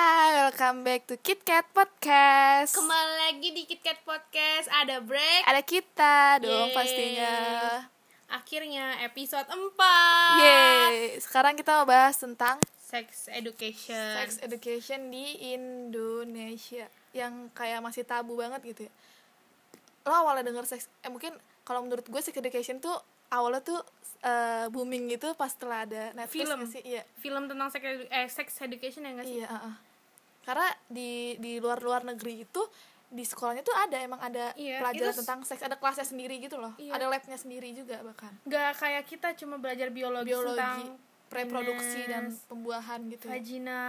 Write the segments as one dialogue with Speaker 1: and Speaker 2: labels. Speaker 1: welcome back to KitKat Podcast
Speaker 2: Kembali lagi di KitKat Podcast Ada break
Speaker 1: Ada kita dong
Speaker 2: Yeay.
Speaker 1: pastinya
Speaker 2: Akhirnya episode 4
Speaker 1: Yeay Sekarang kita mau bahas tentang
Speaker 2: Sex education
Speaker 1: Sex education di Indonesia Yang kayak masih tabu banget gitu ya Lo awalnya denger sex Eh mungkin kalau menurut gue sex education tuh Awalnya tuh eh, booming gitu pas setelah ada Netflix
Speaker 2: Film.
Speaker 1: nggak sih? Iya
Speaker 2: Film tentang sex, edu- eh, sex education ya gak sih?
Speaker 1: Iya, heeh. karena di di luar-luar negeri itu di sekolahnya tuh ada emang ada
Speaker 2: Iya,
Speaker 1: pelajaran
Speaker 2: itu s-
Speaker 1: tentang seks, ada kelasnya sendiri gitu loh,
Speaker 2: Iya.
Speaker 1: ada labnya sendiri juga bahkan
Speaker 2: Gak kayak kita cuma belajar biologi, tentang
Speaker 1: biologi, reproduksi dan
Speaker 2: penis,
Speaker 1: pembuahan gitu. ya.
Speaker 2: Vagina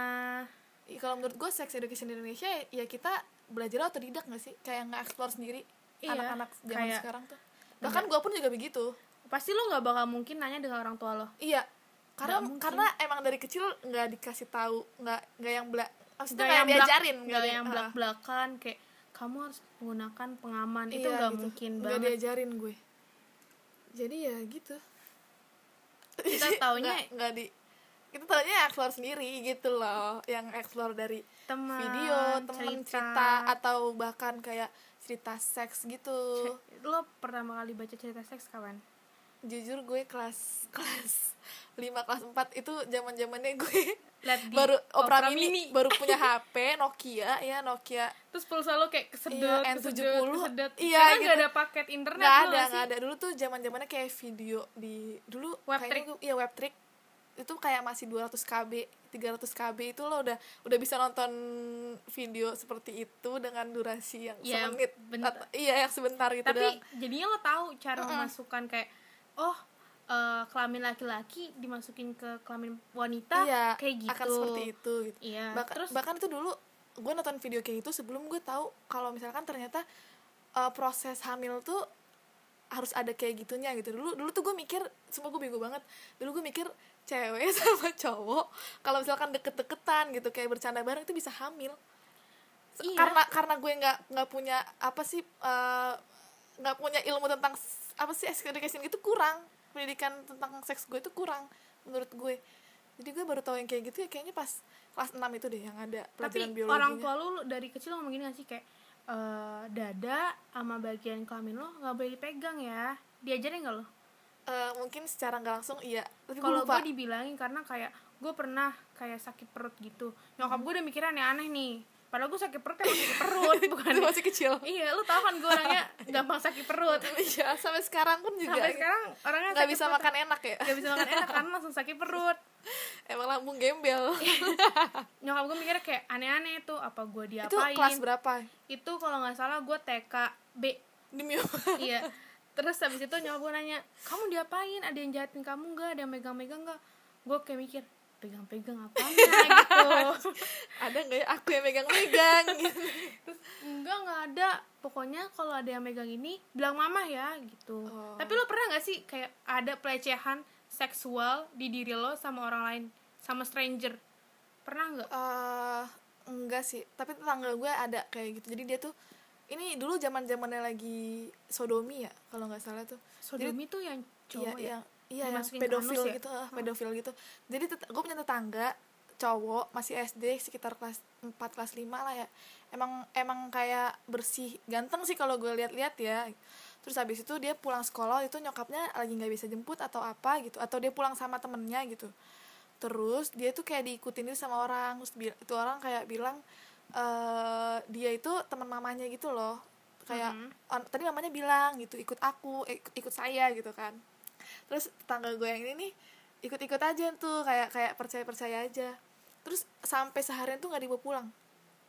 Speaker 1: Ih, Kalau menurut gue sex education di Indonesia ya kita belajar otodidak nggak sih, kayak nggak explore sendiri
Speaker 2: Iya,
Speaker 1: anak-anak zaman
Speaker 2: kayak-
Speaker 1: sekarang tuh. Bahkan gue pun juga begitu.
Speaker 2: Pasti lo gak bakal mungkin nanya dengan orang tua lo
Speaker 1: Iya, karena
Speaker 2: Nggak mungkin.
Speaker 1: karena emang dari kecil nggak dikasih tahu, nggak nggak yang bela, maksudnya
Speaker 2: Gak
Speaker 1: nggak
Speaker 2: yang belak-
Speaker 1: diajarin,
Speaker 2: gak
Speaker 1: di-
Speaker 2: yang
Speaker 1: ah.
Speaker 2: belak-belakan Kayak kamu harus menggunakan pengaman Itu
Speaker 1: Iya,
Speaker 2: gak
Speaker 1: gitu.
Speaker 2: mungkin
Speaker 1: Nggak
Speaker 2: banget
Speaker 1: diajarin gue jadi ya gitu
Speaker 2: Kita taunya
Speaker 1: nggak, nggak di kita taunya explore sendiri gitu loh yang explore dari
Speaker 2: teman
Speaker 1: video temen cerita. atau bahkan kayak cerita seks gitu
Speaker 2: Ce- Lo pertama kali baca cerita seks kapan?
Speaker 1: jujur gue kelas kelas 5 kelas 4 itu zaman zamannya gue
Speaker 2: Lihat di
Speaker 1: baru Opera,
Speaker 2: Opera
Speaker 1: Mini,
Speaker 2: Mini.
Speaker 1: baru punya HP Nokia ya Nokia
Speaker 2: Terus pulsa lo kayak kesedot,
Speaker 1: Iya,
Speaker 2: kesedot,
Speaker 1: N70.
Speaker 2: kesedot.
Speaker 1: Iya,
Speaker 2: Karena
Speaker 1: gitu.
Speaker 2: nggak ada paket internet
Speaker 1: nggak
Speaker 2: lo
Speaker 1: ada
Speaker 2: sih?
Speaker 1: nggak ada dulu tuh zaman zamannya kayak video di dulu
Speaker 2: Web
Speaker 1: kayaknya
Speaker 2: trick.
Speaker 1: gua- iya web trick itu kayak masih 200 kb 300 kb itu lo udah udah bisa nonton video seperti itu dengan durasi yang
Speaker 2: Iya,
Speaker 1: semenit
Speaker 2: bentar.
Speaker 1: Atau- iya yang sebentar gitu
Speaker 2: Tapi
Speaker 1: doang.
Speaker 2: jadinya lo tahu cara memasukkan kayak oh eh, kelamin laki-laki dimasukin ke kelamin wanita
Speaker 1: iya
Speaker 2: kayak gitu.
Speaker 1: akan seperti itu gitu
Speaker 2: Iya.
Speaker 1: Bahkan-
Speaker 2: Terus
Speaker 1: bahkan itu dulu gue nonton video kayak itu sebelum gue tahu kalau misalkan ternyata eh, proses hamil tuh harus ada kayak gitunya gitu dulu dulu tuh gue mikir semua gue bego banget dulu gue mikir cewek sama cowok kalau misalkan deket-deketan gitu kayak bercanda bareng itu bisa hamil
Speaker 2: Iya.
Speaker 1: karena karena gue nggak nggak punya apa sih eh, nggak punya ilmu tentang s- apa sih sex education itu kurang pendidikan tentang seks gue itu kurang menurut gue jadi gue baru tahu yang kayak gitu ya kayaknya pas kelas 6 itu deh yang ada
Speaker 2: tapi
Speaker 1: pelajaran
Speaker 2: orang
Speaker 1: biologinya
Speaker 2: tua lo lo dari kecil ngomong gini gak sih kayak eh, dada sama bagian kelamin lo nggak boleh dipegang ya. Diajarin gak lo?
Speaker 1: Eh, mungkin secara nggak langsung iya tapi gue
Speaker 2: kalau
Speaker 1: lupa
Speaker 2: gue dibilangin karena kayak gue pernah kayak sakit perut gitu nyokap gue udah mikirnya aneh-aneh nih padahal gue sakit perut kan sakit perut bukan
Speaker 1: Itu masih kecil
Speaker 2: iya lu tau kan gue orangnya gampang sakit perut
Speaker 1: iya sampai sekarang pun juga
Speaker 2: sampai sekarang orangnya
Speaker 1: nggak
Speaker 2: sakit
Speaker 1: bisa
Speaker 2: perut.
Speaker 1: makan enak ya
Speaker 2: Nggak bisa makan enak karena langsung sakit perut
Speaker 1: emang lambung gembel
Speaker 2: Iya, nyokap gue mikirnya kayak aneh-aneh tuh apa gue
Speaker 1: itu
Speaker 2: diapain
Speaker 1: kelas berapa
Speaker 2: Itu kalau nggak salah gue TK B
Speaker 1: demi
Speaker 2: iya terus habis itu nyokap gue nanya kamu diapain ada yang jahatin kamu nggak ada yang megang-megang nggak gue kayak mikir pegang-pegang apanya gitu
Speaker 1: ada nggak ya aku yang megang-megang gitu
Speaker 2: Terus, enggak enggak ada pokoknya kalau ada yang megang ini bilang mama ya gitu
Speaker 1: Oh.
Speaker 2: tapi lo pernah nggak sih kayak ada pelecehan seksual di diri lo sama orang lain sama stranger pernah nggak
Speaker 1: eh enggak sih tapi tetangga gue ada kayak gitu jadi dia tuh ini dulu zaman zamannya lagi sodomi ya kalau nggak salah tuh
Speaker 2: sodomi tuh yang
Speaker 1: iya
Speaker 2: cowok ya?
Speaker 1: yang iya yang
Speaker 2: Dimasukin ke
Speaker 1: pedofil
Speaker 2: anus ya?
Speaker 1: gitu ah, pedofil gitu jadi gue punya tetangga cowok masih SD sekitar kelas 4 kelas 5 lah ya emang emang kayak bersih ganteng sih kalau gue lihat-lihat ya terus habis itu dia pulang sekolah itu nyokapnya lagi nggak bisa jemput atau apa gitu atau dia pulang sama temennya gitu terus dia tuh kayak diikutin gitu sama orang terus bi- itu orang kayak bilang eh dia itu teman mamanya gitu loh kayak
Speaker 2: Mm-hmm.
Speaker 1: "On- tadi mamanya bilang gitu ikut aku eh, ikut, ikut saya gitu kan terus tetangga gue yang ini nih ikut-ikut aja tuh kayak kayak percaya percaya aja terus sampai seharian tuh nggak dibawa pulang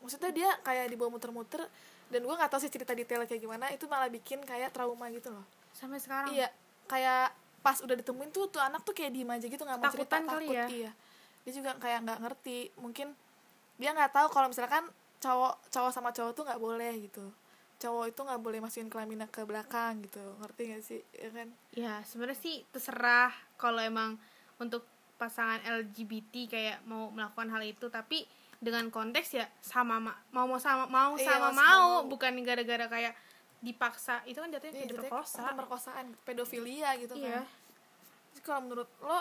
Speaker 1: maksudnya dia kayak dibawa muter-muter dan gue nggak tahu sih cerita detail kayak gimana itu malah bikin kayak trauma gitu loh
Speaker 2: sampai sekarang
Speaker 1: Iya, kayak pas udah ditemuin tuh tuh anak tuh kayak diem aja gitu nggak mau cerita
Speaker 2: Takutan kali
Speaker 1: takut
Speaker 2: ya?
Speaker 1: iya. Dia juga kayak nggak ngerti, mungkin dia nggak tahu kalau misalkan cowok cowok sama cowok tuh nggak boleh gitu. Cowok itu nggak boleh masukin kelaminnya ke belakang gitu, ngerti gak sih? Ya kan?
Speaker 2: ya sebenarnya sih terserah kalau emang untuk pasangan LGBT kayak mau melakukan hal itu tapi dengan konteks ya sama ma- mau mau sama mau
Speaker 1: Iya, mau
Speaker 2: sama
Speaker 1: sama
Speaker 2: mau
Speaker 1: mau.
Speaker 2: bukan gara-gara kayak dipaksa itu kan jatuhnya
Speaker 1: Iya,
Speaker 2: kayak
Speaker 1: jatuhnya
Speaker 2: diperkosa
Speaker 1: pemerkosaan, pedofilia gitu kan.
Speaker 2: Iya.
Speaker 1: Terus kalau menurut lo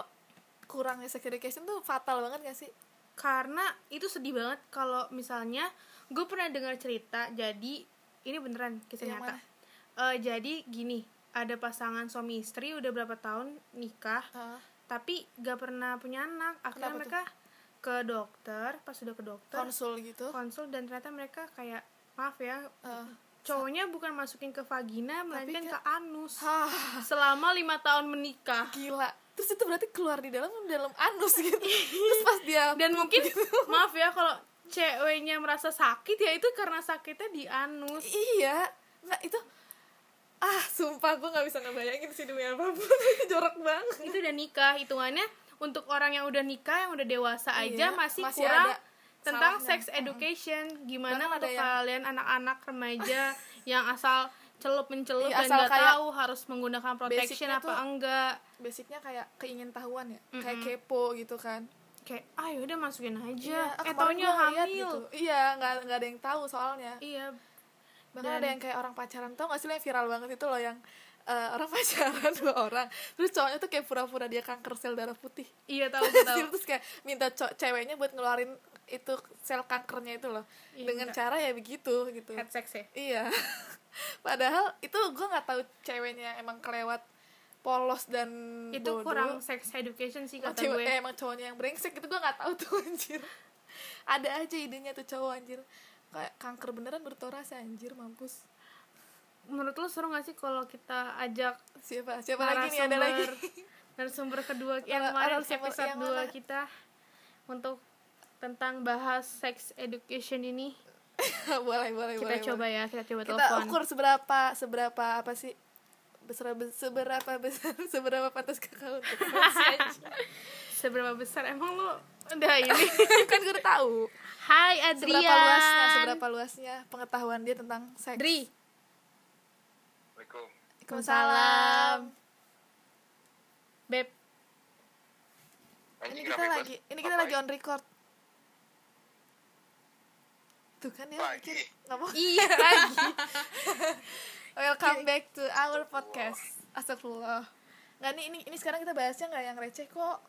Speaker 1: kurangnya sex education tuh fatal banget gak sih?
Speaker 2: karena itu sedih banget kalau misalnya gue pernah dengar cerita jadi ini beneran kisah
Speaker 1: Yang
Speaker 2: nyata
Speaker 1: mana?
Speaker 2: Eh, jadi gini ada pasangan suami istri udah berapa tahun nikah
Speaker 1: Ah,
Speaker 2: tapi gak pernah punya anak
Speaker 1: Kenapa
Speaker 2: akhirnya
Speaker 1: tuh?
Speaker 2: mereka ke dokter pas udah ke dokter
Speaker 1: konsul gitu
Speaker 2: konsul dan ternyata mereka kayak maaf ya
Speaker 1: Ah.
Speaker 2: cowoknya bukan masukin ke vagina melainkan ke
Speaker 1: kan-
Speaker 2: anus
Speaker 1: Hah,
Speaker 2: selama lima tahun menikah
Speaker 1: gila terus itu berarti keluar di dalam dalam anus gitu
Speaker 2: Iya.
Speaker 1: terus pas dia
Speaker 2: dan mungkin
Speaker 1: Gitu.
Speaker 2: maaf ya kalau ceweknya merasa sakit ya itu karena sakitnya di anus
Speaker 1: iya nggak itu ah sumpah gue nggak bisa ngebayangin sih demi apapun jorok banget
Speaker 2: itu udah nikah hitungannya untuk orang yang udah nikah yang udah dewasa aja
Speaker 1: Iya,
Speaker 2: masih,
Speaker 1: masih
Speaker 2: kurang
Speaker 1: ada
Speaker 2: tentang
Speaker 1: salahnya.
Speaker 2: sex education gimana
Speaker 1: Bahkan ada
Speaker 2: untuk
Speaker 1: yang-
Speaker 2: kalian anak-anak remaja yang asal celup mencelup
Speaker 1: Iya,
Speaker 2: dan
Speaker 1: asal
Speaker 2: nggak
Speaker 1: kayak
Speaker 2: tahu harus menggunakan protection
Speaker 1: basicnya
Speaker 2: apa
Speaker 1: tuh-
Speaker 2: enggak
Speaker 1: basicnya kayak keingintahuan ya kayak kepo gitu kan
Speaker 2: kayak ah yaudah masukin
Speaker 1: Iya,
Speaker 2: aja
Speaker 1: ah,
Speaker 2: eh
Speaker 1: kemarin
Speaker 2: taunya
Speaker 1: gua ngeliat
Speaker 2: hamil
Speaker 1: gitu. iya nggak nggak ada yang tahu soalnya
Speaker 2: iya
Speaker 1: bahkan
Speaker 2: Dan-
Speaker 1: ada yang kayak orang pacaran tau gak sih lo yang viral banget itu loh yang eh, orang pacaran dua orang terus cowoknya tuh kayak pura-pura dia kanker sel darah putih
Speaker 2: iya tahu gua tahu
Speaker 1: terus kayak minta co- ceweknya buat ngeluarin itu sel kankernya itu loh
Speaker 2: Iya,
Speaker 1: dengan
Speaker 2: bener.
Speaker 1: cara ya begitu gitu
Speaker 2: head sex ya
Speaker 1: iya padahal itu gue nggak tahu ceweknya emang kelewat polos dan
Speaker 2: itu
Speaker 1: bodoh.
Speaker 2: kurang sex education sih
Speaker 1: Emang
Speaker 2: kata
Speaker 1: cewek-
Speaker 2: gue
Speaker 1: eh, emang cowoknya yang brengsek itu gue nggak tahu tuh anjir ada aja idenya tuh cowok anjir kayak kanker beneran bertorasi anjir mampus
Speaker 2: menurut lu seru gak sih kalau kita ajak
Speaker 1: siapa siapa lagi nih ada lagi
Speaker 2: narasumber- narasumber kedua yang
Speaker 1: Nara-
Speaker 2: kemarin
Speaker 1: narasumber
Speaker 2: episode
Speaker 1: yang
Speaker 2: 2
Speaker 1: mana?
Speaker 2: kita untuk tentang bahas sex education ini
Speaker 1: boleh boleh
Speaker 2: kita
Speaker 1: boleh
Speaker 2: coba ya kita coba
Speaker 1: boleh. kita
Speaker 2: telepon
Speaker 1: ukur seberapa seberapa apa sih besar seberapa besar seberapa pantas kakak untuk promosi, anjir.
Speaker 2: seberapa besar emang lu udah ini
Speaker 1: kan gue udah tahu
Speaker 2: Hai
Speaker 1: seberapa luasnya
Speaker 2: Adrian
Speaker 1: seberapa luasnya pengetahuan dia tentang seks
Speaker 2: Dri
Speaker 3: Assalamualaikum.
Speaker 1: Waalaikumsalam.
Speaker 2: Beb
Speaker 3: Anjing
Speaker 1: ini kita
Speaker 3: kenapa,
Speaker 1: lagi
Speaker 3: Bas?
Speaker 1: ini kita lagi
Speaker 3: Ngapain?
Speaker 1: on record tuh kan ya
Speaker 3: Baik.
Speaker 1: mikir nggak mau
Speaker 2: iya lagi
Speaker 1: welcome back to our podcast astagfirullah nggak nih ini ini sekarang kita bahasnya nggak yang receh kok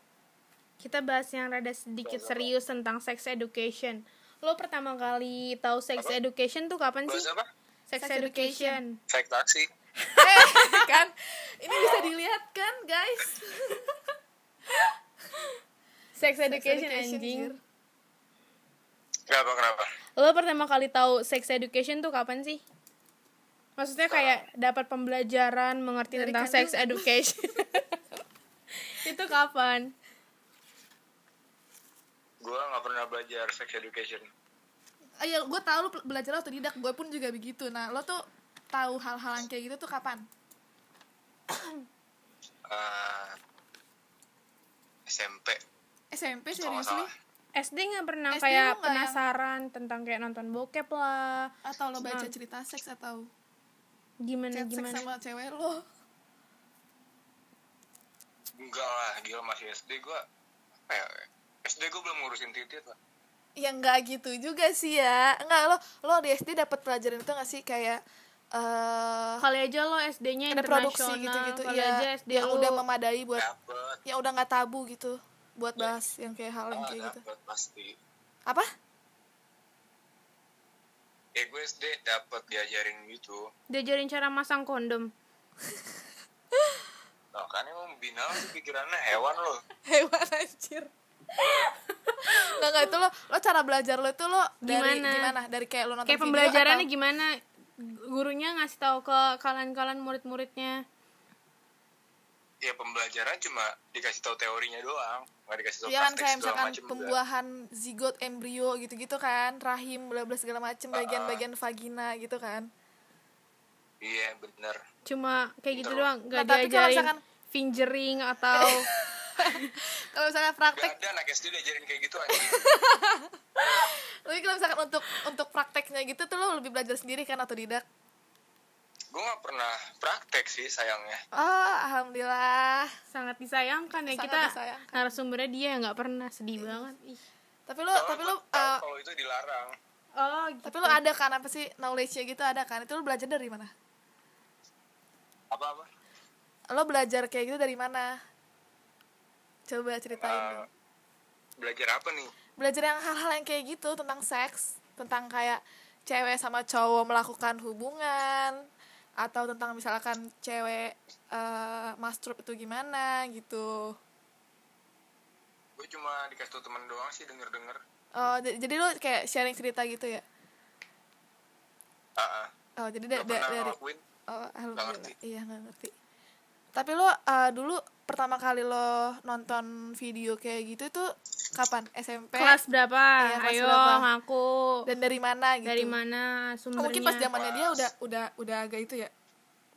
Speaker 2: kita bahas yang rada sedikit serius tentang sex education lo pertama kali tahu sex
Speaker 3: Apa?
Speaker 2: education tuh kapan
Speaker 3: Bahas
Speaker 2: sih
Speaker 3: apa?
Speaker 2: sex
Speaker 1: Sex
Speaker 2: education
Speaker 3: Fake taksi.
Speaker 1: Eh, kan ini bisa dilihat kan guys
Speaker 2: sex
Speaker 1: Sex
Speaker 2: education anjing
Speaker 1: anjir.
Speaker 3: Kenapa kenapa?
Speaker 2: Lo pertama kali tahu sex education tuh kapan sih? Maksudnya kayak dapat pembelajaran mengerti
Speaker 1: Dari
Speaker 2: tentang sex education. itu kapan?
Speaker 3: Gua nggak pernah belajar sex education.
Speaker 1: ayo gue tau lo belajar otodidak gue pun juga begitu nah lo tuh tahu hal-hal yang kayak gitu tuh kapan
Speaker 3: Eh, SMP.
Speaker 1: SMP
Speaker 3: Kalau nggak
Speaker 1: seriously
Speaker 3: salah.
Speaker 2: SD nggak pernah
Speaker 1: SD
Speaker 2: kayak
Speaker 1: lo nggak ya?
Speaker 2: penasaran tentang kayak nonton bokep lah,
Speaker 1: atau lo baca cerita seks atau
Speaker 2: gimana
Speaker 1: chat seks
Speaker 2: gimana.
Speaker 1: sama cewek lo
Speaker 3: Enggak lah, gila masih SD gua. Apa ya? SD gua belum ngurusin titik lah.
Speaker 1: ya nggak gitu juga sih ya nggak lo lo di SD dapat pelajaran itu nggak sih kayak eh
Speaker 2: Kali aja lo SD-nya
Speaker 1: ada produksi
Speaker 2: internasional,
Speaker 1: gitu-gitu
Speaker 2: kali aja
Speaker 1: ya
Speaker 2: SD
Speaker 1: yang
Speaker 2: lo
Speaker 1: udah memadai buat
Speaker 3: Dapet.
Speaker 1: yang udah nggak tabu gitu buat bahas yang kayak hal yang
Speaker 3: Ah,
Speaker 1: kayak gitu
Speaker 3: dapet pasti.
Speaker 1: apa
Speaker 3: Ya gue SD dapet diajarin gitu.
Speaker 2: diajarin cara masang kondom.
Speaker 3: Nah, kan emang binal sih pikirannya hewan loh.
Speaker 1: hewan anjir nggak nggak itu lo lo cara belajar lo itu lo dari
Speaker 2: Gimana?
Speaker 1: gimana, dari kayak lo nonton
Speaker 2: Kayak
Speaker 1: video
Speaker 2: pembelajarannya
Speaker 1: atau-
Speaker 2: gimana? Gurunya ngasih tahu ke kalian-kalian murid-muridnya.
Speaker 3: Ya pembelajaran cuma dikasih tahu teorinya doang, nggak dikasih tahu
Speaker 1: Iya kan
Speaker 3: praktik
Speaker 1: kayak
Speaker 3: segala
Speaker 1: misalkan
Speaker 3: macem juga.
Speaker 1: pembuahan zigot, embrio gitu-gitu kan, rahim, bla bla segala
Speaker 3: Ah,
Speaker 1: macem, bagian-bagian vagina gitu kan.
Speaker 3: Iya bener.
Speaker 2: cuma kayak gitu
Speaker 3: Gitu.
Speaker 2: doang gak
Speaker 1: Nah, tapi kalau
Speaker 2: diajarin
Speaker 1: misalkan-
Speaker 2: fingering atau
Speaker 1: Kalau misalnya
Speaker 3: Gak
Speaker 1: praktek,
Speaker 3: ada anak SD diajarin kayak gitu anjing.
Speaker 1: tapi kalau misalkan untuk untuk prakteknya gitu tuh lo lebih belajar sendiri kan atau tidak?
Speaker 3: gue gak pernah praktek sih sayangnya
Speaker 1: Oh, alhamdulillah.
Speaker 2: sangat disayangkan ya
Speaker 1: Sangat
Speaker 2: kita
Speaker 1: disayangkan.
Speaker 2: narasumbernya dia yang nggak pernah sedih banget Ih.
Speaker 1: Tapi lo tapi lo
Speaker 3: Tahu
Speaker 1: eh,
Speaker 3: kalau itu dilarang
Speaker 2: oh gitu.
Speaker 1: tapi lo ada kan apa sih knowledge-nya gitu ada kan? Itu lo belajar dari mana?
Speaker 3: apa apa
Speaker 1: Lo belajar
Speaker 3: Eh.
Speaker 1: kayak gitu dari mana? Coba ceritain. dong.
Speaker 3: belajar apa nih
Speaker 1: belajar yang hal-hal yang kayak gitu tentang seks tentang kayak cewek sama cowok melakukan hubungan atau tentang misalkan cewek eh, mastrub itu gimana gitu
Speaker 3: gue cuma dikasih tau temen doang sih denger denger
Speaker 1: oh j- jadi lu kayak sharing cerita gitu ya
Speaker 3: ah ah.
Speaker 1: oh jadi da-
Speaker 3: nggak
Speaker 1: da-
Speaker 3: pernah
Speaker 1: dari
Speaker 3: ngelakuin
Speaker 1: Oh, alhamdulillah.
Speaker 3: ngerti.
Speaker 1: Iya, nggak ngerti. Tapi lo eh, dulu pertama kali lo nonton video kayak gitu itu kapan? SMP?
Speaker 2: kelas berapa
Speaker 1: Iya, kelas
Speaker 2: ayo
Speaker 1: berapa?
Speaker 2: ngaku
Speaker 1: Dan dari mana gitu?
Speaker 2: dari mana
Speaker 1: Oh,
Speaker 2: sumbernya
Speaker 1: mungkin pas zamannya dia
Speaker 3: Pas.
Speaker 1: udah udah udah agak itu ya.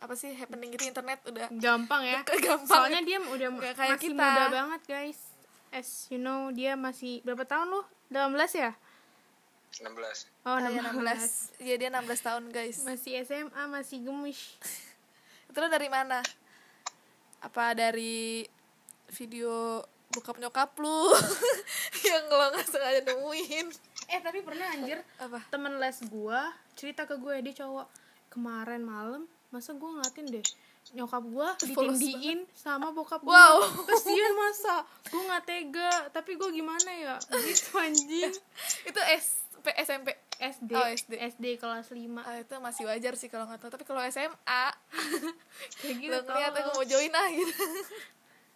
Speaker 1: Apa sih happening gitu internet udah
Speaker 2: gampang ya
Speaker 1: gampang.
Speaker 2: soalnya dia udah
Speaker 1: Nggak kayak
Speaker 2: masih
Speaker 1: kita.
Speaker 2: muda banget guys as you know dia masih berapa tahun lu 18 ya
Speaker 3: 16
Speaker 2: oh
Speaker 1: Ah, iya,
Speaker 2: 16
Speaker 1: 16. Iya, dia 16 tahun, guys.
Speaker 2: masih SMA masih gemes
Speaker 1: Itu lo dari mana? Apa dari video bokap nyokap lu yang lo nggak sengaja nemuin
Speaker 2: eh tapi pernah anjir
Speaker 1: apa
Speaker 2: temen les gua cerita ke gue dia cowok kemarin malam masa gua ngeliatin deh nyokap gua ditindiin sama bokap gua
Speaker 1: Wow.
Speaker 2: kasian masa gua nggak tega tapi gua gimana ya gitu anjing
Speaker 1: itu SP SMP
Speaker 2: SD
Speaker 1: Oh, SD.
Speaker 2: kelas 5
Speaker 1: Ah, itu masih wajar sih kalau nggak tahu tapi kalau SMA
Speaker 2: kayak gitu
Speaker 1: lo ngeliat aku
Speaker 2: tolong.
Speaker 1: mau join ah gitu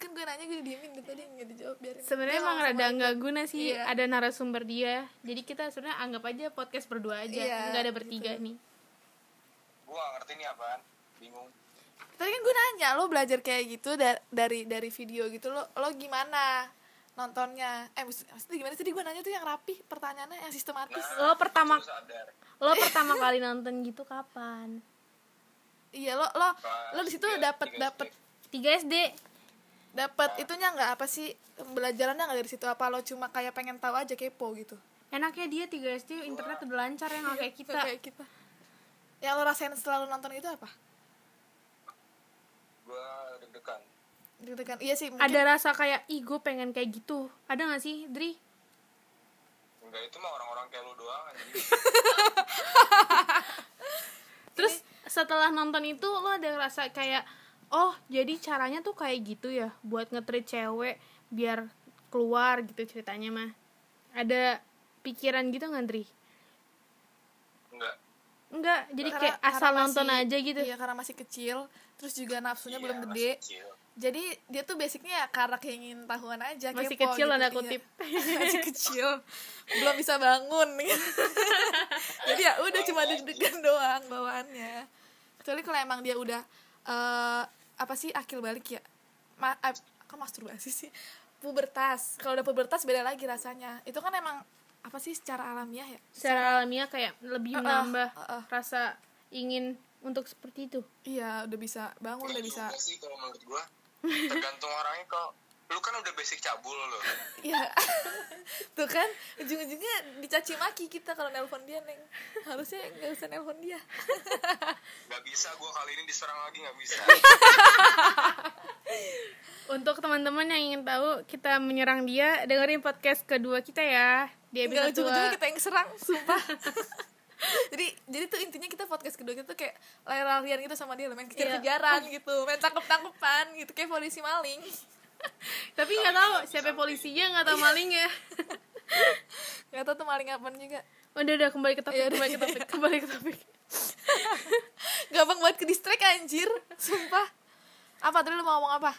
Speaker 1: kan gue nanya gue diemin gitu tadi nggak dijawab biarin
Speaker 2: sebenarnya
Speaker 1: Dia
Speaker 2: emang
Speaker 1: langsung
Speaker 2: rada
Speaker 1: aja.
Speaker 2: nggak guna sih
Speaker 1: Iya.
Speaker 2: ada narasumber dia jadi kita sebenarnya anggap aja podcast berdua aja
Speaker 1: Iya,
Speaker 2: nggak ada bertiga nih
Speaker 3: gue gak ngerti nih apaan bingung
Speaker 1: tadi kan gue nanya lo belajar kayak gitu da- dari dari video gitu lo lo gimana nontonnya eh maksud- maksudnya gimana sih tadi gue nanya tuh yang rapi pertanyaannya yang sistematis
Speaker 2: lo pertama
Speaker 3: Terus sadar
Speaker 2: lo pertama kali nonton gitu kapan
Speaker 1: iya lo lo lo di situ
Speaker 3: Tiga-
Speaker 1: dapet
Speaker 3: tiga
Speaker 1: dapet
Speaker 2: 3
Speaker 3: SD.
Speaker 2: SD
Speaker 1: dapet itunya nggak apa sih belajarannya nggak dari situ apa lo cuma kayak pengen tahu aja kepo gitu
Speaker 2: enaknya dia 3 SD internet udah lancar ya nggak kayak kita
Speaker 1: kayak kita yang lo rasain setelah lo nonton itu apa
Speaker 3: gue deg-degan
Speaker 1: gitu kan iya sih mungkin
Speaker 2: ada rasa kayak ih gue pengen kayak gitu ada nggak sih Dri
Speaker 3: enggak itu mah orang-orang kayak lu doang anjing
Speaker 2: terus setelah nonton itu lo ada rasa kayak oh jadi caranya tuh kayak gitu ya buat ngetrit cewek biar keluar gitu ceritanya mah ada pikiran gitu nggak Dri
Speaker 3: enggak
Speaker 2: enggak jadi
Speaker 1: karena-
Speaker 2: kayak
Speaker 1: karena
Speaker 2: asal
Speaker 1: masih-
Speaker 2: nonton aja gitu
Speaker 1: iya karena masih kecil terus juga nafsunya
Speaker 3: Iya,
Speaker 1: belum
Speaker 3: masih
Speaker 1: gede
Speaker 3: kecil.
Speaker 1: jadi dia tuh basicnya ya karena keingin tahuan aja
Speaker 2: masih
Speaker 1: kepo
Speaker 2: kecil
Speaker 1: gitu,
Speaker 2: tanda
Speaker 1: iya.
Speaker 2: kutip
Speaker 1: masih kecil belum bisa bangun gitu. jadi ya udah cuma deg-degan doang bawaannya kecuali kalau emang dia udah eh apa sih akil balik ya Ma eh, kok masturbasi sih pubertas kalau udah pubertas beda lagi rasanya itu kan emang apa sih secara alamiah ya
Speaker 2: secara alamiah kayak lebih
Speaker 1: Uh-uh,
Speaker 2: menambah
Speaker 1: uh-uh.
Speaker 2: rasa ingin untuk seperti itu
Speaker 1: iya udah bisa bangun udah
Speaker 3: Enggak
Speaker 1: bisa
Speaker 3: juga sih kalau menurut gue tergantung orangnya kok lu kan udah basic cabul lo
Speaker 1: Iya. Tuh kan ujung-ujungnya dicaci maki kita kalau nelpon dia, Neng. Harusnya nggak usah nelpon dia.
Speaker 3: nggak bisa gue kali ini diserang lagi nggak bisa
Speaker 2: Untuk teman-teman yang ingin tahu kita menyerang dia, dengerin podcast kedua kita ya. Di
Speaker 1: Enggak
Speaker 2: episode
Speaker 1: ujung-ujungnya
Speaker 2: dua.
Speaker 1: kita yang serang, sumpah. jadi jadi tuh intinya kita podcast kedua kita tuh kayak lari-larian gitu sama dia, main
Speaker 2: Iya.
Speaker 1: kejar-kejaran gitu, main tangkep-tangkepan gitu kayak polisi maling.
Speaker 2: Tapi nggak tahu siapa polisinya, nggak tahu malingnya.
Speaker 1: Gak tau tuh maling apaan juga.
Speaker 2: Udah udah kembali ke topik,
Speaker 1: Iya, udah.
Speaker 2: kembali ke topik, kembali ke topik.
Speaker 1: Gampang banget ke distract anjir, sumpah. Apa tadi lu mau ngomong apa?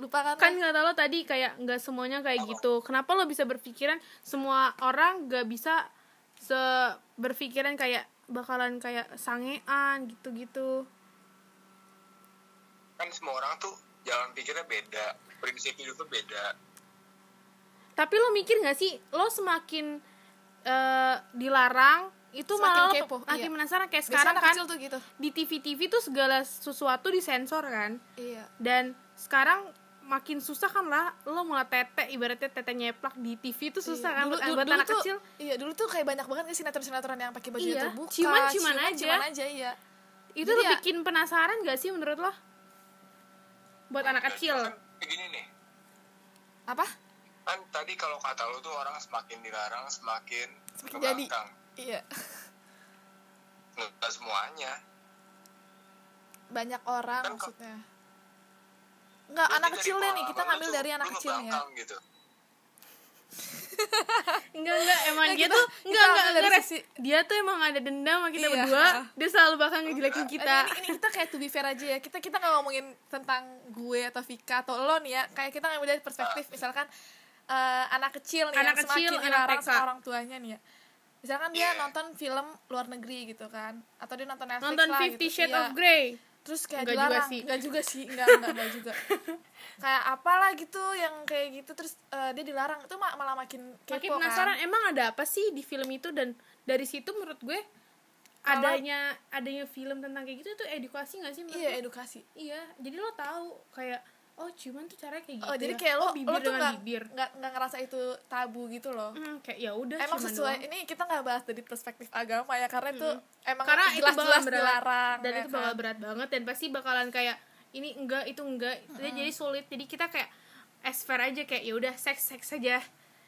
Speaker 1: Lupa kan?
Speaker 2: Kan nggak tahu lo tadi kayak nggak semuanya kayak gitu. Kenapa lo bisa berpikiran semua orang nggak bisa se berpikiran kayak bakalan kayak sangean gitu-gitu.
Speaker 3: kan semua orang tuh jalan pikirnya beda prinsip hidupnya beda
Speaker 2: Tapi lo mikir nggak sih, lo semakin eh, dilarang itu
Speaker 1: Semakin
Speaker 2: malah lo
Speaker 1: kepo,
Speaker 2: makin
Speaker 1: iya.
Speaker 2: penasaran kayak
Speaker 1: Biasanya
Speaker 2: sekarang
Speaker 1: anak
Speaker 2: kan
Speaker 1: kecil tuh gitu.
Speaker 2: di TV-TV tuh segala sesuatu disensor kan
Speaker 1: Iya.
Speaker 2: dan sekarang makin susah kan lah lo mau tete ibaratnya tete nyeplak di TV tuh susah kan buat, buat anak
Speaker 1: tuh,
Speaker 2: kecil
Speaker 1: Iya, dulu tuh kayak banyak banget nggak sih sinetron-sinetron yang pakai baju
Speaker 2: Iya,
Speaker 1: terbuka.
Speaker 2: ciuman-ciuman aja.
Speaker 1: Ciuman aja, iya.
Speaker 2: itu
Speaker 1: jadi
Speaker 2: lo
Speaker 1: ya-
Speaker 2: bikin penasaran gak sih menurut lo buat anak kecil
Speaker 3: kan kayak gini nih
Speaker 1: Apa?
Speaker 3: kan tadi kalau kata lu tuh orang semakin dilarang semakin
Speaker 1: Semakin jadi.
Speaker 3: kebangkang.
Speaker 1: Iya.
Speaker 3: nggak semuanya
Speaker 1: Banyak orang
Speaker 3: Kan kok-
Speaker 1: maksudnya. Enggak, anak
Speaker 3: Berarti dari
Speaker 1: kecilnya nih,
Speaker 3: pengalaman
Speaker 1: kita
Speaker 3: lu
Speaker 1: ngambil
Speaker 3: tuh,
Speaker 1: dari anak ya.
Speaker 3: lu
Speaker 1: kecilnya.
Speaker 3: ngebangkang gitu
Speaker 2: Enggak enggak emang
Speaker 1: Ya,
Speaker 2: dia
Speaker 1: kita-
Speaker 2: tuh
Speaker 1: kita
Speaker 2: enggak enggak
Speaker 1: ambil dari
Speaker 2: enggak Res.
Speaker 1: sisi-
Speaker 2: dia tuh emang ada dendam sama kita
Speaker 1: Iya.
Speaker 2: berdua dia selalu bakal ngejelekin kita
Speaker 1: Ini, ini kita kayak to be fair aja ya kita kita nggak ngomongin tentang gue atau Vika atau lo nih ya kayak kita ngambil dari perspektif
Speaker 3: Ah.
Speaker 1: misalkan eh, anak kecil nih
Speaker 2: Anak
Speaker 1: yang
Speaker 2: kecil,
Speaker 1: semakin
Speaker 2: anak
Speaker 1: dilarang
Speaker 2: TK.
Speaker 1: sama orang tuanya nih ya misalkan dia
Speaker 3: Iya.
Speaker 1: nonton film luar negeri gitu kan atau dia nonton Netflix
Speaker 2: nonton
Speaker 1: lah
Speaker 2: Fifty
Speaker 1: gitu.
Speaker 2: Shades
Speaker 1: Iya.
Speaker 2: of Grey
Speaker 1: terus kayak
Speaker 2: Nggak juga
Speaker 1: dilarang
Speaker 2: sih.
Speaker 1: nggak juga sih nggak nggak nggak juga kayak apalah gitu yang kayak gitu terus eh, dia dilarang itu ma- malah makin kepo
Speaker 2: makin
Speaker 1: kan.
Speaker 2: penasaran emang ada apa sih di film itu dan dari situ menurut gue
Speaker 1: Malah-
Speaker 2: adanya adanya film tentang kayak gitu itu edukasi nggak sih menurut
Speaker 1: iya
Speaker 2: lo?
Speaker 1: edukasi
Speaker 2: iya jadi lo tahu kayak oh ciuman tuh caranya kayak gitu
Speaker 1: oh jadi
Speaker 2: ya.
Speaker 1: kayak lo
Speaker 2: Oh, bibir
Speaker 1: lo tuh
Speaker 2: dengan
Speaker 1: nggak
Speaker 2: bibir
Speaker 1: nggak nggak ngerasa itu tabu gitu loh
Speaker 2: Hmm, kayak ya udah
Speaker 1: emang
Speaker 2: ciuman
Speaker 1: sesuai
Speaker 2: doang.
Speaker 1: ini kita nggak bahas dari perspektif agama ya karena itu emang
Speaker 2: karena itu
Speaker 1: jelas
Speaker 2: bakal
Speaker 1: jelas
Speaker 2: berat
Speaker 1: dilarang
Speaker 2: dan
Speaker 1: ya
Speaker 2: itu bakal
Speaker 1: kan?
Speaker 2: berat banget dan pasti bakalan kayak ini enggak itu enggak jadi, jadi sulit jadi kita kayak as fair aja kayak ya udah seks seks aja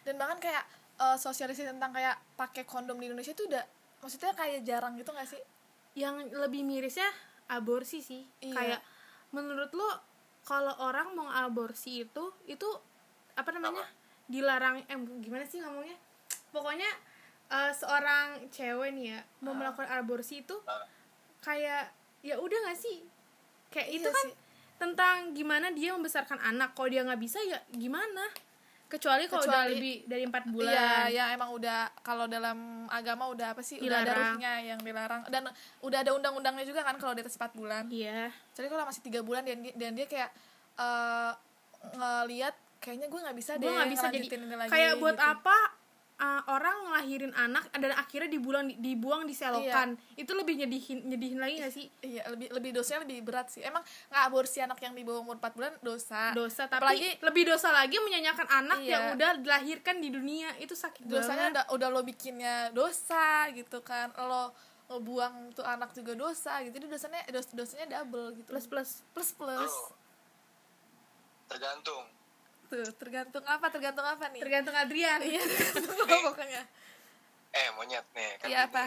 Speaker 1: dan bahkan kayak eh, sosialisasi tentang kayak pakai kondom di Indonesia itu udah maksudnya kayak jarang gitu nggak sih
Speaker 2: yang lebih mirisnya aborsi sih
Speaker 1: Iya.
Speaker 2: kayak menurut lo kalau orang mau aborsi itu itu apa namanya dilarang eh gimana sih ngomongnya pokoknya eh, seorang cewek nih
Speaker 1: Ah.
Speaker 2: ya mau melakukan aborsi itu kayak ya udah nggak sih kayak itu
Speaker 1: Iya
Speaker 2: kan
Speaker 1: sih.
Speaker 2: tentang gimana dia membesarkan anak kalau dia nggak bisa ya gimana kecuali kalau udah
Speaker 1: Kecuali-
Speaker 2: lebih dari empat bulan
Speaker 1: Iya, yang emang udah kalau dalam agama udah apa sih? Udah ada
Speaker 2: Dilarang.
Speaker 1: ruhnya yang dilarang dan udah ada undang-undangnya juga kan kalau di atas 4 bulan.
Speaker 2: iya
Speaker 1: Jadi kalau masih tiga bulan dan dia, dan dia kayak eh, ngeliat kayaknya gue nggak bisa deh
Speaker 2: gue nggak bisa jadi
Speaker 1: ngelanjutin ini lagi,
Speaker 2: kayak buat
Speaker 1: gitu.
Speaker 2: apa uh, orang ngelahirin anak dan akhirnya dibuang dibuang di selokan itu lebih nyedihin nyedihin lagi gak sih
Speaker 1: Iya, lebih lebih dosanya lebih berat sih. Emang nggak aborsi anak yang di bawah umur 4 bulan dosa.
Speaker 2: dosa tapi
Speaker 1: Apalagi-
Speaker 2: lebih dosa lagi menyanyikan anak
Speaker 1: Iya.
Speaker 2: yang udah dilahirkan di dunia itu sakit
Speaker 1: dosanya
Speaker 2: banget
Speaker 1: udah udah lo bikinnya dosa gitu kan. Lo ngebuang tuh anak juga dosa gitu. Jadi dosanya dos, dosanya double gitu.
Speaker 2: plus plus
Speaker 1: plus
Speaker 3: Tuh.
Speaker 1: plus.
Speaker 3: tergantung
Speaker 1: Tuh, tergantung apa? Tergantung apa nih?
Speaker 2: tergantung Adrian
Speaker 1: Iya, tergantung lo pokoknya.
Speaker 3: eh monyet nih kan
Speaker 1: Iya
Speaker 3: gini.
Speaker 1: apa?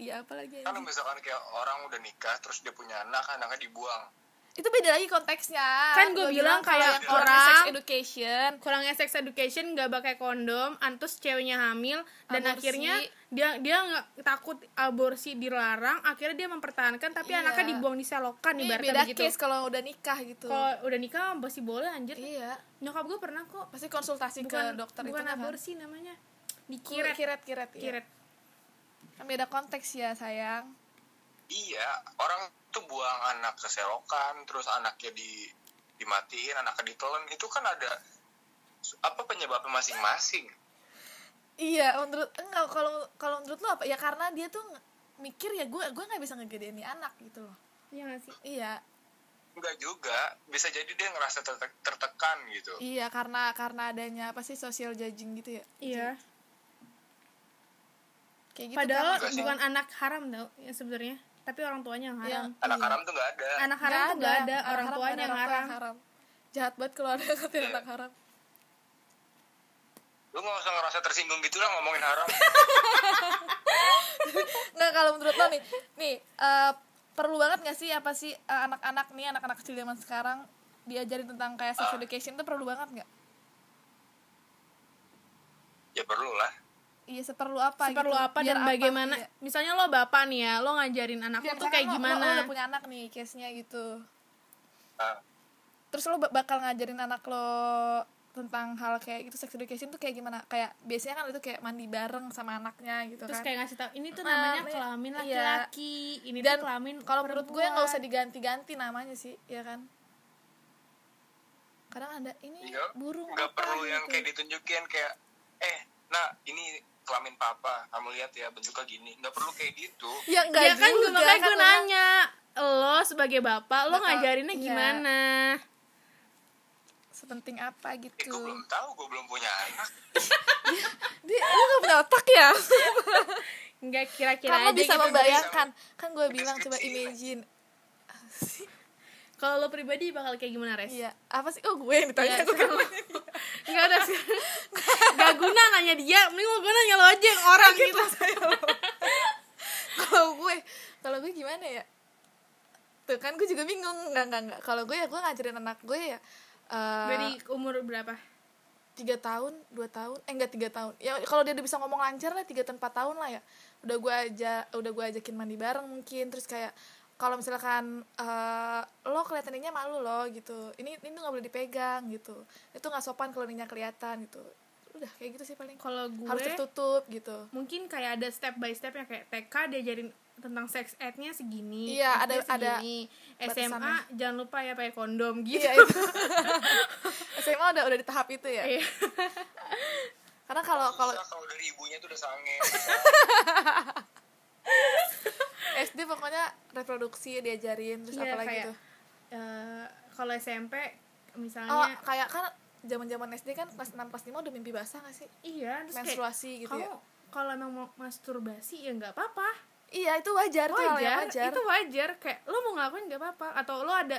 Speaker 1: Iya apa lagi?
Speaker 3: kan
Speaker 1: anjing?
Speaker 3: misalkan kayak orang udah nikah terus dia punya anak anaknya dibuang
Speaker 1: Itu beda lagi konteksnya.
Speaker 2: Kan
Speaker 1: Gua
Speaker 2: gua bilang
Speaker 1: kalau
Speaker 2: kayak
Speaker 1: yang kurangnya
Speaker 2: orang-
Speaker 1: sex education
Speaker 2: kurangnya sex education nggak pakai kondom antus ceweknya hamil dan
Speaker 1: Aborsi.
Speaker 2: akhirnya dia dia nggak takut aborsi dilarang akhirnya dia mempertahankan tapi
Speaker 1: Iya.
Speaker 2: anaknya dibuang di selokan
Speaker 1: ini
Speaker 2: ibaratnya
Speaker 1: iya, beda
Speaker 2: begitu
Speaker 1: case kalau udah nikah gitu.
Speaker 2: kalau udah nikah masih boleh anjir
Speaker 1: Iya.
Speaker 2: nyokap gue pernah kok
Speaker 1: Pasti konsultasi ke
Speaker 2: bukan
Speaker 1: dokter itu
Speaker 2: bukan
Speaker 1: kan?
Speaker 2: aborsi namanya
Speaker 1: Kiret
Speaker 2: dikiret kiret,
Speaker 1: kiret kiret. iya. Kan beda konteks ya, sayang.
Speaker 3: iya orang tuh buang anak ke selokan terus anaknya di dimatiin anaknya ditelan itu kan ada apa penyebabnya masing-masing
Speaker 1: Iya, menurut enggak kalau kalau menurut lo apa? Ya karena dia tuh nge- mikir ya gue gue nggak bisa ngegedein nih anak gitu loh.
Speaker 2: iya gak sih
Speaker 1: Iya,
Speaker 3: enggak juga bisa jadi dia ngerasa terte- tertekan gitu
Speaker 1: iya karena karena adanya apa sih social judging gitu ya?
Speaker 2: iya
Speaker 1: Kayak gitu
Speaker 2: padahal
Speaker 1: kan?
Speaker 3: Enggak sih.
Speaker 2: bukan anak haram tau yang sebenarnya tapi orang tuanya yang haram
Speaker 1: Yang-
Speaker 3: anak
Speaker 1: Iya.
Speaker 3: haram tuh nggak ada
Speaker 2: anak haram tuh gak ada
Speaker 1: Anak
Speaker 2: orang
Speaker 1: haram,
Speaker 2: tuanya
Speaker 1: ada
Speaker 2: yang
Speaker 1: orang tua
Speaker 2: haram
Speaker 1: Jahat banget kalau ada yang ngatain anak haram.
Speaker 3: lu nggak usah ngerasa tersinggung gitu lah ngomongin haram
Speaker 1: Nggak, kalau menurut lo nih, nih eh, perlu banget nggak sih apa sih eh, anak-anak nih, anak-anak kecil zaman sekarang diajarin tentang kayak sex education itu perlu banget nggak?
Speaker 3: ya perlu lah
Speaker 1: Iya, seperlu apa
Speaker 2: perlu
Speaker 1: gitu?
Speaker 2: apa
Speaker 1: Biar
Speaker 2: dan bagaimana
Speaker 1: Iya.
Speaker 2: misalnya lo bapak nih ya lo ngajarin anak
Speaker 1: Biar
Speaker 2: lo tuh kayak
Speaker 1: misalkan lo-
Speaker 2: gimana
Speaker 1: Lo, lo udah punya anak nih, case-nya gitu.
Speaker 3: Ah,
Speaker 1: Terus lo ba- bakal ngajarin anak lo tentang hal kayak gitu sex education tuh kayak gimana? Kayak biasanya kan itu kayak mandi bareng sama anaknya gitu
Speaker 2: terus
Speaker 1: kan.
Speaker 2: kayak ngasih tau ini tuh
Speaker 1: Nah,
Speaker 2: namanya
Speaker 1: ini-
Speaker 2: kelamin
Speaker 1: iya.
Speaker 2: laki-laki ini
Speaker 1: dan
Speaker 2: tuh kelamin
Speaker 1: kalau menurut gue
Speaker 2: perempuan.
Speaker 1: nggak usah diganti-ganti namanya sih ya kan kadang ada ini
Speaker 3: iya
Speaker 1: burung
Speaker 3: nggak
Speaker 1: apa
Speaker 3: perlu yang
Speaker 1: gitu.
Speaker 3: kayak ditunjukin kayak eh nah ini kelamin papa kamu lihat ya bentuknya gini nggak perlu kayak gitu
Speaker 1: ya nggak
Speaker 2: ya kan
Speaker 1: juga
Speaker 2: gue makanya gue
Speaker 1: karena-
Speaker 2: nanya lo sebagai bapak lo
Speaker 1: Bakal-
Speaker 2: ngajarinnya
Speaker 1: iya.
Speaker 2: gimana
Speaker 1: sepenting apa
Speaker 3: Eh,
Speaker 1: gitu
Speaker 3: gue belum tahu, gue belum punya anak.
Speaker 1: dia lu nggak punya otak ya
Speaker 2: nggak kira-kira
Speaker 1: kamu
Speaker 2: aja
Speaker 1: Kan bisa
Speaker 2: gitu.
Speaker 1: membayangkan kan gue bilang coba
Speaker 3: Deskripsi.
Speaker 1: imagine
Speaker 2: kalau lo pribadi bakal kayak gimana res
Speaker 1: iya apa sih oh gue yang ditanya
Speaker 2: Iya,
Speaker 1: Gue
Speaker 2: sama. nggak ada sih nggak guna nanya dia mending lo guna nanya lo aja yang orang gitu
Speaker 1: kalau gue kalau gue gimana ya tuh kan gue juga bingung nggak nggak nggak kalau gue ya gue ngajarin anak gue ya eh,
Speaker 2: dari umur berapa
Speaker 1: tiga tahun dua tahun eh enggak tiga tahun ya kalau dia udah bisa ngomong lancar lah tiga tempat tahun lah ya udah gue aja udah gue ajakin mandi bareng mungkin terus kayak kalau misalkan eh, lo kelihatannya malu lo gitu ini ini nggak boleh dipegang gitu itu nggak sopan kalau ininya kelihatan gitu udah kayak gitu sih paling
Speaker 2: kalau gue
Speaker 1: harus tertutup gitu
Speaker 2: mungkin kayak ada step by step ya kayak TK diajarin tentang sex ed-nya segini,
Speaker 1: Iya,
Speaker 2: SD
Speaker 1: ada- ada
Speaker 2: segini, SMA
Speaker 1: batasannya.
Speaker 2: jangan lupa ya pakai kondom gitu.
Speaker 1: iya itu SMA udah udah di tahap itu ya
Speaker 2: Iya.
Speaker 1: karena kalau Oh, kalau
Speaker 3: Bisa kalau dari ibunya tuh udah sange
Speaker 1: SD pokoknya reproduksi diajarin terus
Speaker 2: Iya,
Speaker 1: apa lagi
Speaker 2: kayak,
Speaker 1: tuh
Speaker 2: eh, kalau SMP misalnya
Speaker 1: oh kayak kan zaman zaman SD kan kelas 6 kelas 5 udah mimpi basah gak sih
Speaker 2: iya terus kayak
Speaker 1: menstruasi gitu
Speaker 2: kamu
Speaker 1: ya
Speaker 2: kalau emang mau masturbasi ya nggak apa-apa.
Speaker 1: iya itu wajar, itu hal yang
Speaker 2: Wajar,
Speaker 1: wajar
Speaker 2: itu wajar kayak lo mau ngelakuin nggak apa-apa atau lo ada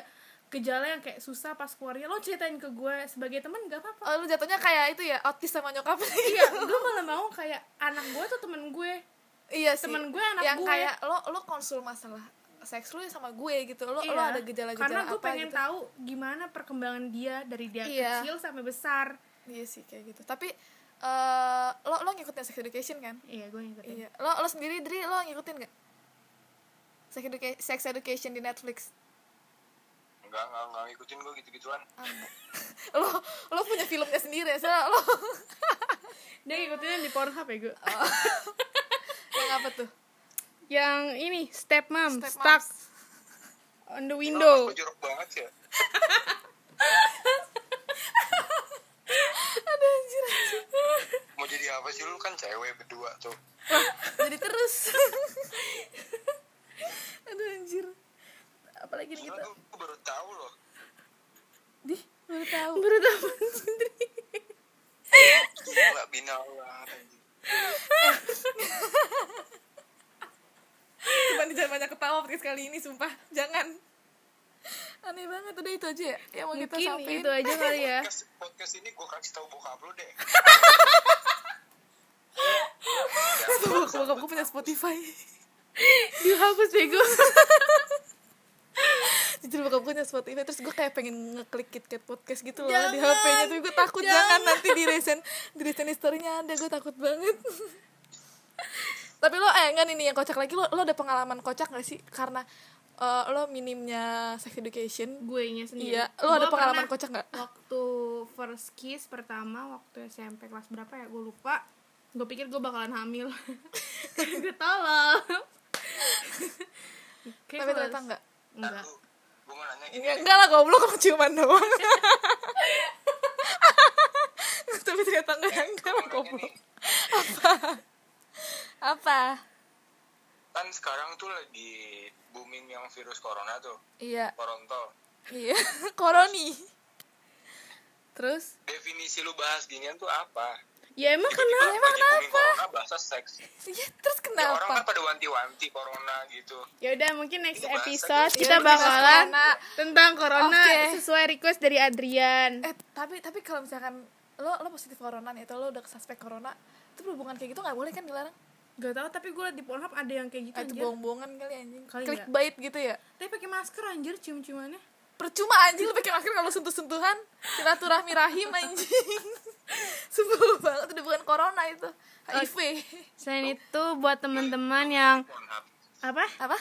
Speaker 2: gejala yang kayak susah pas keluarnya lo ceritain ke gue sebagai teman nggak apa-apa.
Speaker 1: Oh, lu jatuhnya kayak itu ya autis sama nyokap
Speaker 2: iya, gue malah mau kayak anak gue tuh temen gue.
Speaker 1: iya sih
Speaker 2: Temen gue, anak
Speaker 1: yang
Speaker 2: gue.
Speaker 1: kayak lo lo konsul masalah seks lu ya sama gue gitu lo lo
Speaker 2: Iya,
Speaker 1: ada gejala-gejala
Speaker 2: karena gue
Speaker 1: apa
Speaker 2: pengen
Speaker 1: gitu
Speaker 2: tahu gimana perkembangan dia dari dia
Speaker 1: Iya.
Speaker 2: kecil sampai besar
Speaker 1: iya sih kayak gitu tapi eh lo lo ngikutin sex education kan
Speaker 2: iya gue ngikutin
Speaker 1: Iya. Lo lo sendiri Dri lo ngikutin gak? Sex, educa- sex education di Netflix.
Speaker 3: enggak enggak enggak ngikutin gue gitu gituan
Speaker 1: Ah, enggak. lo lo punya filmnya sendiri ya. Soalnya lo
Speaker 2: dia ngikutinnya di Pornhub ya gue
Speaker 1: Oh. yang apa tuh?
Speaker 2: yang ini step mom
Speaker 1: Step
Speaker 2: stuck
Speaker 1: Moms.
Speaker 2: on the
Speaker 3: Kalau
Speaker 2: window
Speaker 3: aku jorok banget ya
Speaker 1: Aduh anjir.
Speaker 3: mau jadi apa sih lu kan cewek berdua tuh
Speaker 1: Oh, Jadi terus. Aduh anjir. Apalagi nih
Speaker 3: Gila,
Speaker 1: kita.
Speaker 3: gue gue baru tahu loh
Speaker 1: Di, baru tahu.
Speaker 2: menurut apa sendiri
Speaker 3: gila binal banget anjing.
Speaker 1: Cuman jangan banyak ketawa gitu. podcast kali ini sumpah. Jangan. Aneh banget udah itu aja ya. Yang mau kita
Speaker 2: mungkin
Speaker 1: sampein.
Speaker 2: itu aja kali ya
Speaker 3: podcast, podcast ini gue kasih tahu bokap lu deh
Speaker 1: Bokap gue punya Spotify.
Speaker 2: dihapus bego
Speaker 1: Jujur bokap gue punya Spotify terus gue kayak pengen ngeklik KitKat podcast gitu loh di
Speaker 2: Jangan.
Speaker 1: HP-nya tapi gue takut jangan, nanti di resen di resen historinya ada gue takut banget tapi lo eh enggak nih nih, yang kocak lagi lo lo ada pengalaman kocak gak sih karena eh, lo minimnya sex education
Speaker 2: gue nya sendiri
Speaker 1: Iya, lo ada
Speaker 2: Gue
Speaker 1: pengalaman
Speaker 2: pernah
Speaker 1: kocak nggak?
Speaker 2: waktu first kiss pertama waktu SMP kelas berapa ya gue lupa gue pikir gue bakalan hamil gue tolol Kayak
Speaker 1: tapi
Speaker 2: gue
Speaker 1: ternyata
Speaker 2: harus-
Speaker 1: enggak
Speaker 3: Ntar
Speaker 2: enggak
Speaker 3: lu gue mau nanya gitu. gini
Speaker 1: enggak, Iya, enggak lah goblok lo ciuman doang tapi ternyata enggak enggak lah
Speaker 3: Gua mau nanya
Speaker 1: Iya, goblok
Speaker 3: nih,
Speaker 1: apa
Speaker 3: kan sekarang tuh lagi booming yang virus corona tuh
Speaker 1: iya
Speaker 3: korontol
Speaker 1: iya koroni terus
Speaker 3: definisi lu bahas ginian tuh apa
Speaker 2: ya emang
Speaker 3: Tiba-tiba
Speaker 2: kenapa
Speaker 3: lagi booming corona bahasa seks
Speaker 1: Iya, terus
Speaker 3: Ya, orang kan
Speaker 1: kenapa?
Speaker 3: pada wanti-wanti corona gitu
Speaker 2: ya udah mungkin next
Speaker 3: Itu bahasa
Speaker 2: episode
Speaker 3: gitu.
Speaker 2: kita
Speaker 1: Iya,
Speaker 2: bakalan
Speaker 1: corona.
Speaker 2: tentang corona
Speaker 1: Oke.
Speaker 2: sesuai request dari Adrian
Speaker 1: eh, tapi tapi kalau misalkan lo lo positif corona nih atau lo udah suspek corona, itu berhubungan kayak gitu nggak boleh kan dilarang?
Speaker 2: gak tau tapi gue liat di Pornhub ada yang kayak gitu
Speaker 1: Ah, itu
Speaker 2: anjir
Speaker 1: bohong-bohongan kali anjing.
Speaker 2: Kali
Speaker 1: Klik
Speaker 2: nggak?
Speaker 1: bait gitu ya.
Speaker 2: tapi pakai masker anjir cium-ciumannya
Speaker 1: Percuma anjing lo pakai masker kalau sentuh-sentuhan, silaturahmi rahim anjing. Sebel banget udah bukan corona itu. HIV.
Speaker 2: selain itu buat teman-teman yang
Speaker 3: Pornhub
Speaker 2: apa
Speaker 1: Apa?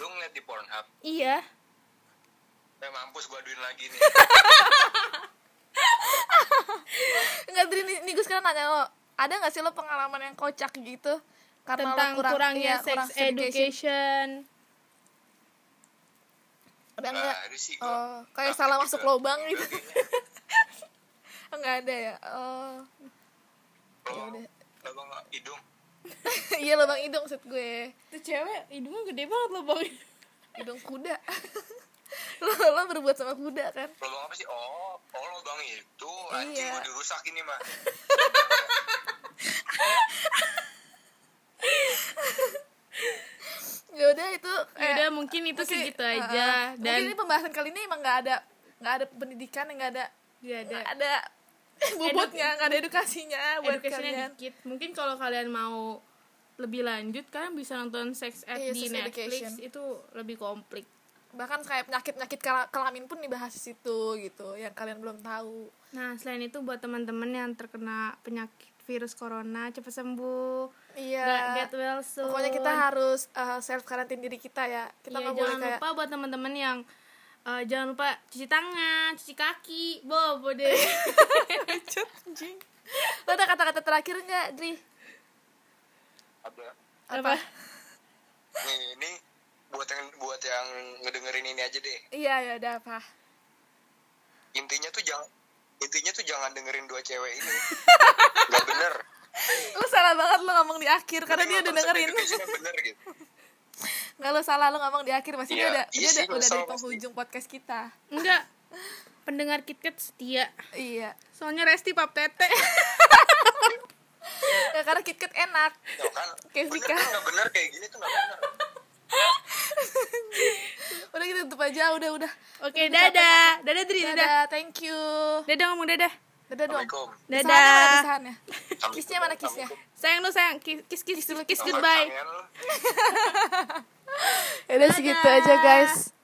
Speaker 3: lu ngeliat di Pornhub
Speaker 2: iya
Speaker 3: eh mampus gue aduin lagi nih
Speaker 1: Enggak Dri, nih, nih gue sekarang nanya lo, ada nggak sih lo pengalaman yang kocak gitu? Karena lo
Speaker 2: tentang
Speaker 1: kurang-
Speaker 2: kurangnya
Speaker 1: iya,
Speaker 2: sex
Speaker 1: kurang
Speaker 2: education.
Speaker 1: Ada nggak?
Speaker 3: Nah, ada sih gua. Iya,
Speaker 1: Oh, kayak
Speaker 3: Tapi
Speaker 1: salah
Speaker 3: juga-
Speaker 1: masuk lubang
Speaker 3: juga
Speaker 1: gitu.
Speaker 3: kayaknya.
Speaker 1: Enggak ada ya. Oh.
Speaker 3: Lubang-
Speaker 1: Ya udah.
Speaker 3: lubang hidung
Speaker 1: Iya lubang hidung maksud gue.
Speaker 2: Tuh cewek hidungnya gede banget lubangnya.
Speaker 1: Hidung kuda. lo, lo berbuat sama kuda kan?
Speaker 3: lubang apa sih oh oh lubang itu anjing
Speaker 1: Iya.
Speaker 3: gue dirusak ini mah
Speaker 1: Ya udah itu kayak-
Speaker 2: Udah mungkin itu
Speaker 1: mungkin-
Speaker 2: segitu
Speaker 1: uh-uh.
Speaker 2: aja
Speaker 1: mungkin
Speaker 2: dan
Speaker 1: ini pembahasan kali ini emang nggak ada nggak ada pendidikan yang nggak ada
Speaker 2: dia
Speaker 1: nggak
Speaker 2: ada
Speaker 1: ada bobotnya nggak ada edukasinya buat
Speaker 2: educationnya
Speaker 1: kalian.
Speaker 2: dikit. Mungkin kalau kalian mau lebih lanjut kalian bisa nonton sex ed
Speaker 1: Iya,
Speaker 2: di
Speaker 1: sex
Speaker 2: Netflix
Speaker 1: education.
Speaker 2: itu lebih komplit.
Speaker 1: bahkan kayak penyakit penyakit kelamin pun dibahas di situ gitu yang kalian belum tahu
Speaker 2: Nah, selain itu buat teman-teman yang terkena penyakit virus corona, cepat sembuh. Nggak
Speaker 1: iya
Speaker 2: get well soon.
Speaker 1: pokoknya kita harus self karantin diri kita ya kita
Speaker 2: Iya,
Speaker 1: nggak boleh
Speaker 2: jangan
Speaker 1: kayak
Speaker 2: lupa buat teman-teman yang eh, jangan lupa cuci tangan, cuci kaki, bobo deh.
Speaker 1: lo ada kata-kata terakhir nggak Dri
Speaker 2: Apa?
Speaker 3: ada nih ini buat yang buat yang ngedengerin ini aja deh
Speaker 1: iya ya ada apa
Speaker 3: intinya tuh jangan intinya tuh jangan dengerin dua cewek ini nggak bener
Speaker 1: lu salah banget lo ngomong di akhir karena dia udah
Speaker 3: Mending nonton
Speaker 1: dengerin
Speaker 3: Sex Education yang bener gitu
Speaker 1: nggak lo salah lo ngomong di akhir pasti dia
Speaker 3: Iya,
Speaker 1: udah
Speaker 3: iya
Speaker 1: dia udah,
Speaker 3: sih, nggak
Speaker 1: udah di
Speaker 3: salah pasti.
Speaker 1: penghujung podcast kita
Speaker 2: Enggak. Pendengar KitKat setia.
Speaker 1: iya
Speaker 2: Soalnya Resti pap tete.
Speaker 1: ya, karena KitKat enak
Speaker 3: Tuh kan
Speaker 1: Kayak
Speaker 3: bener
Speaker 1: Vika.
Speaker 3: kan nggak bener kayak gini tuh nggak bener
Speaker 1: udah kita tutup aja udah udah
Speaker 2: Oke, dadah. Dadah Dri, dadah.
Speaker 1: dadah thank you
Speaker 2: Dadah ngomong dadah.
Speaker 1: dadah dong
Speaker 3: assalamualaikum
Speaker 1: Desahannya mana
Speaker 2: Dadah.
Speaker 1: desahannya?
Speaker 3: gitu
Speaker 1: Kisnya mana kisnya?
Speaker 2: Sayang lu sayang. Kiss kiss kiss, kiss, kiss
Speaker 3: Assalamualaikum.
Speaker 2: goodbye.
Speaker 3: Kangen
Speaker 1: Ya
Speaker 3: lu.
Speaker 1: udah segitu aja guys.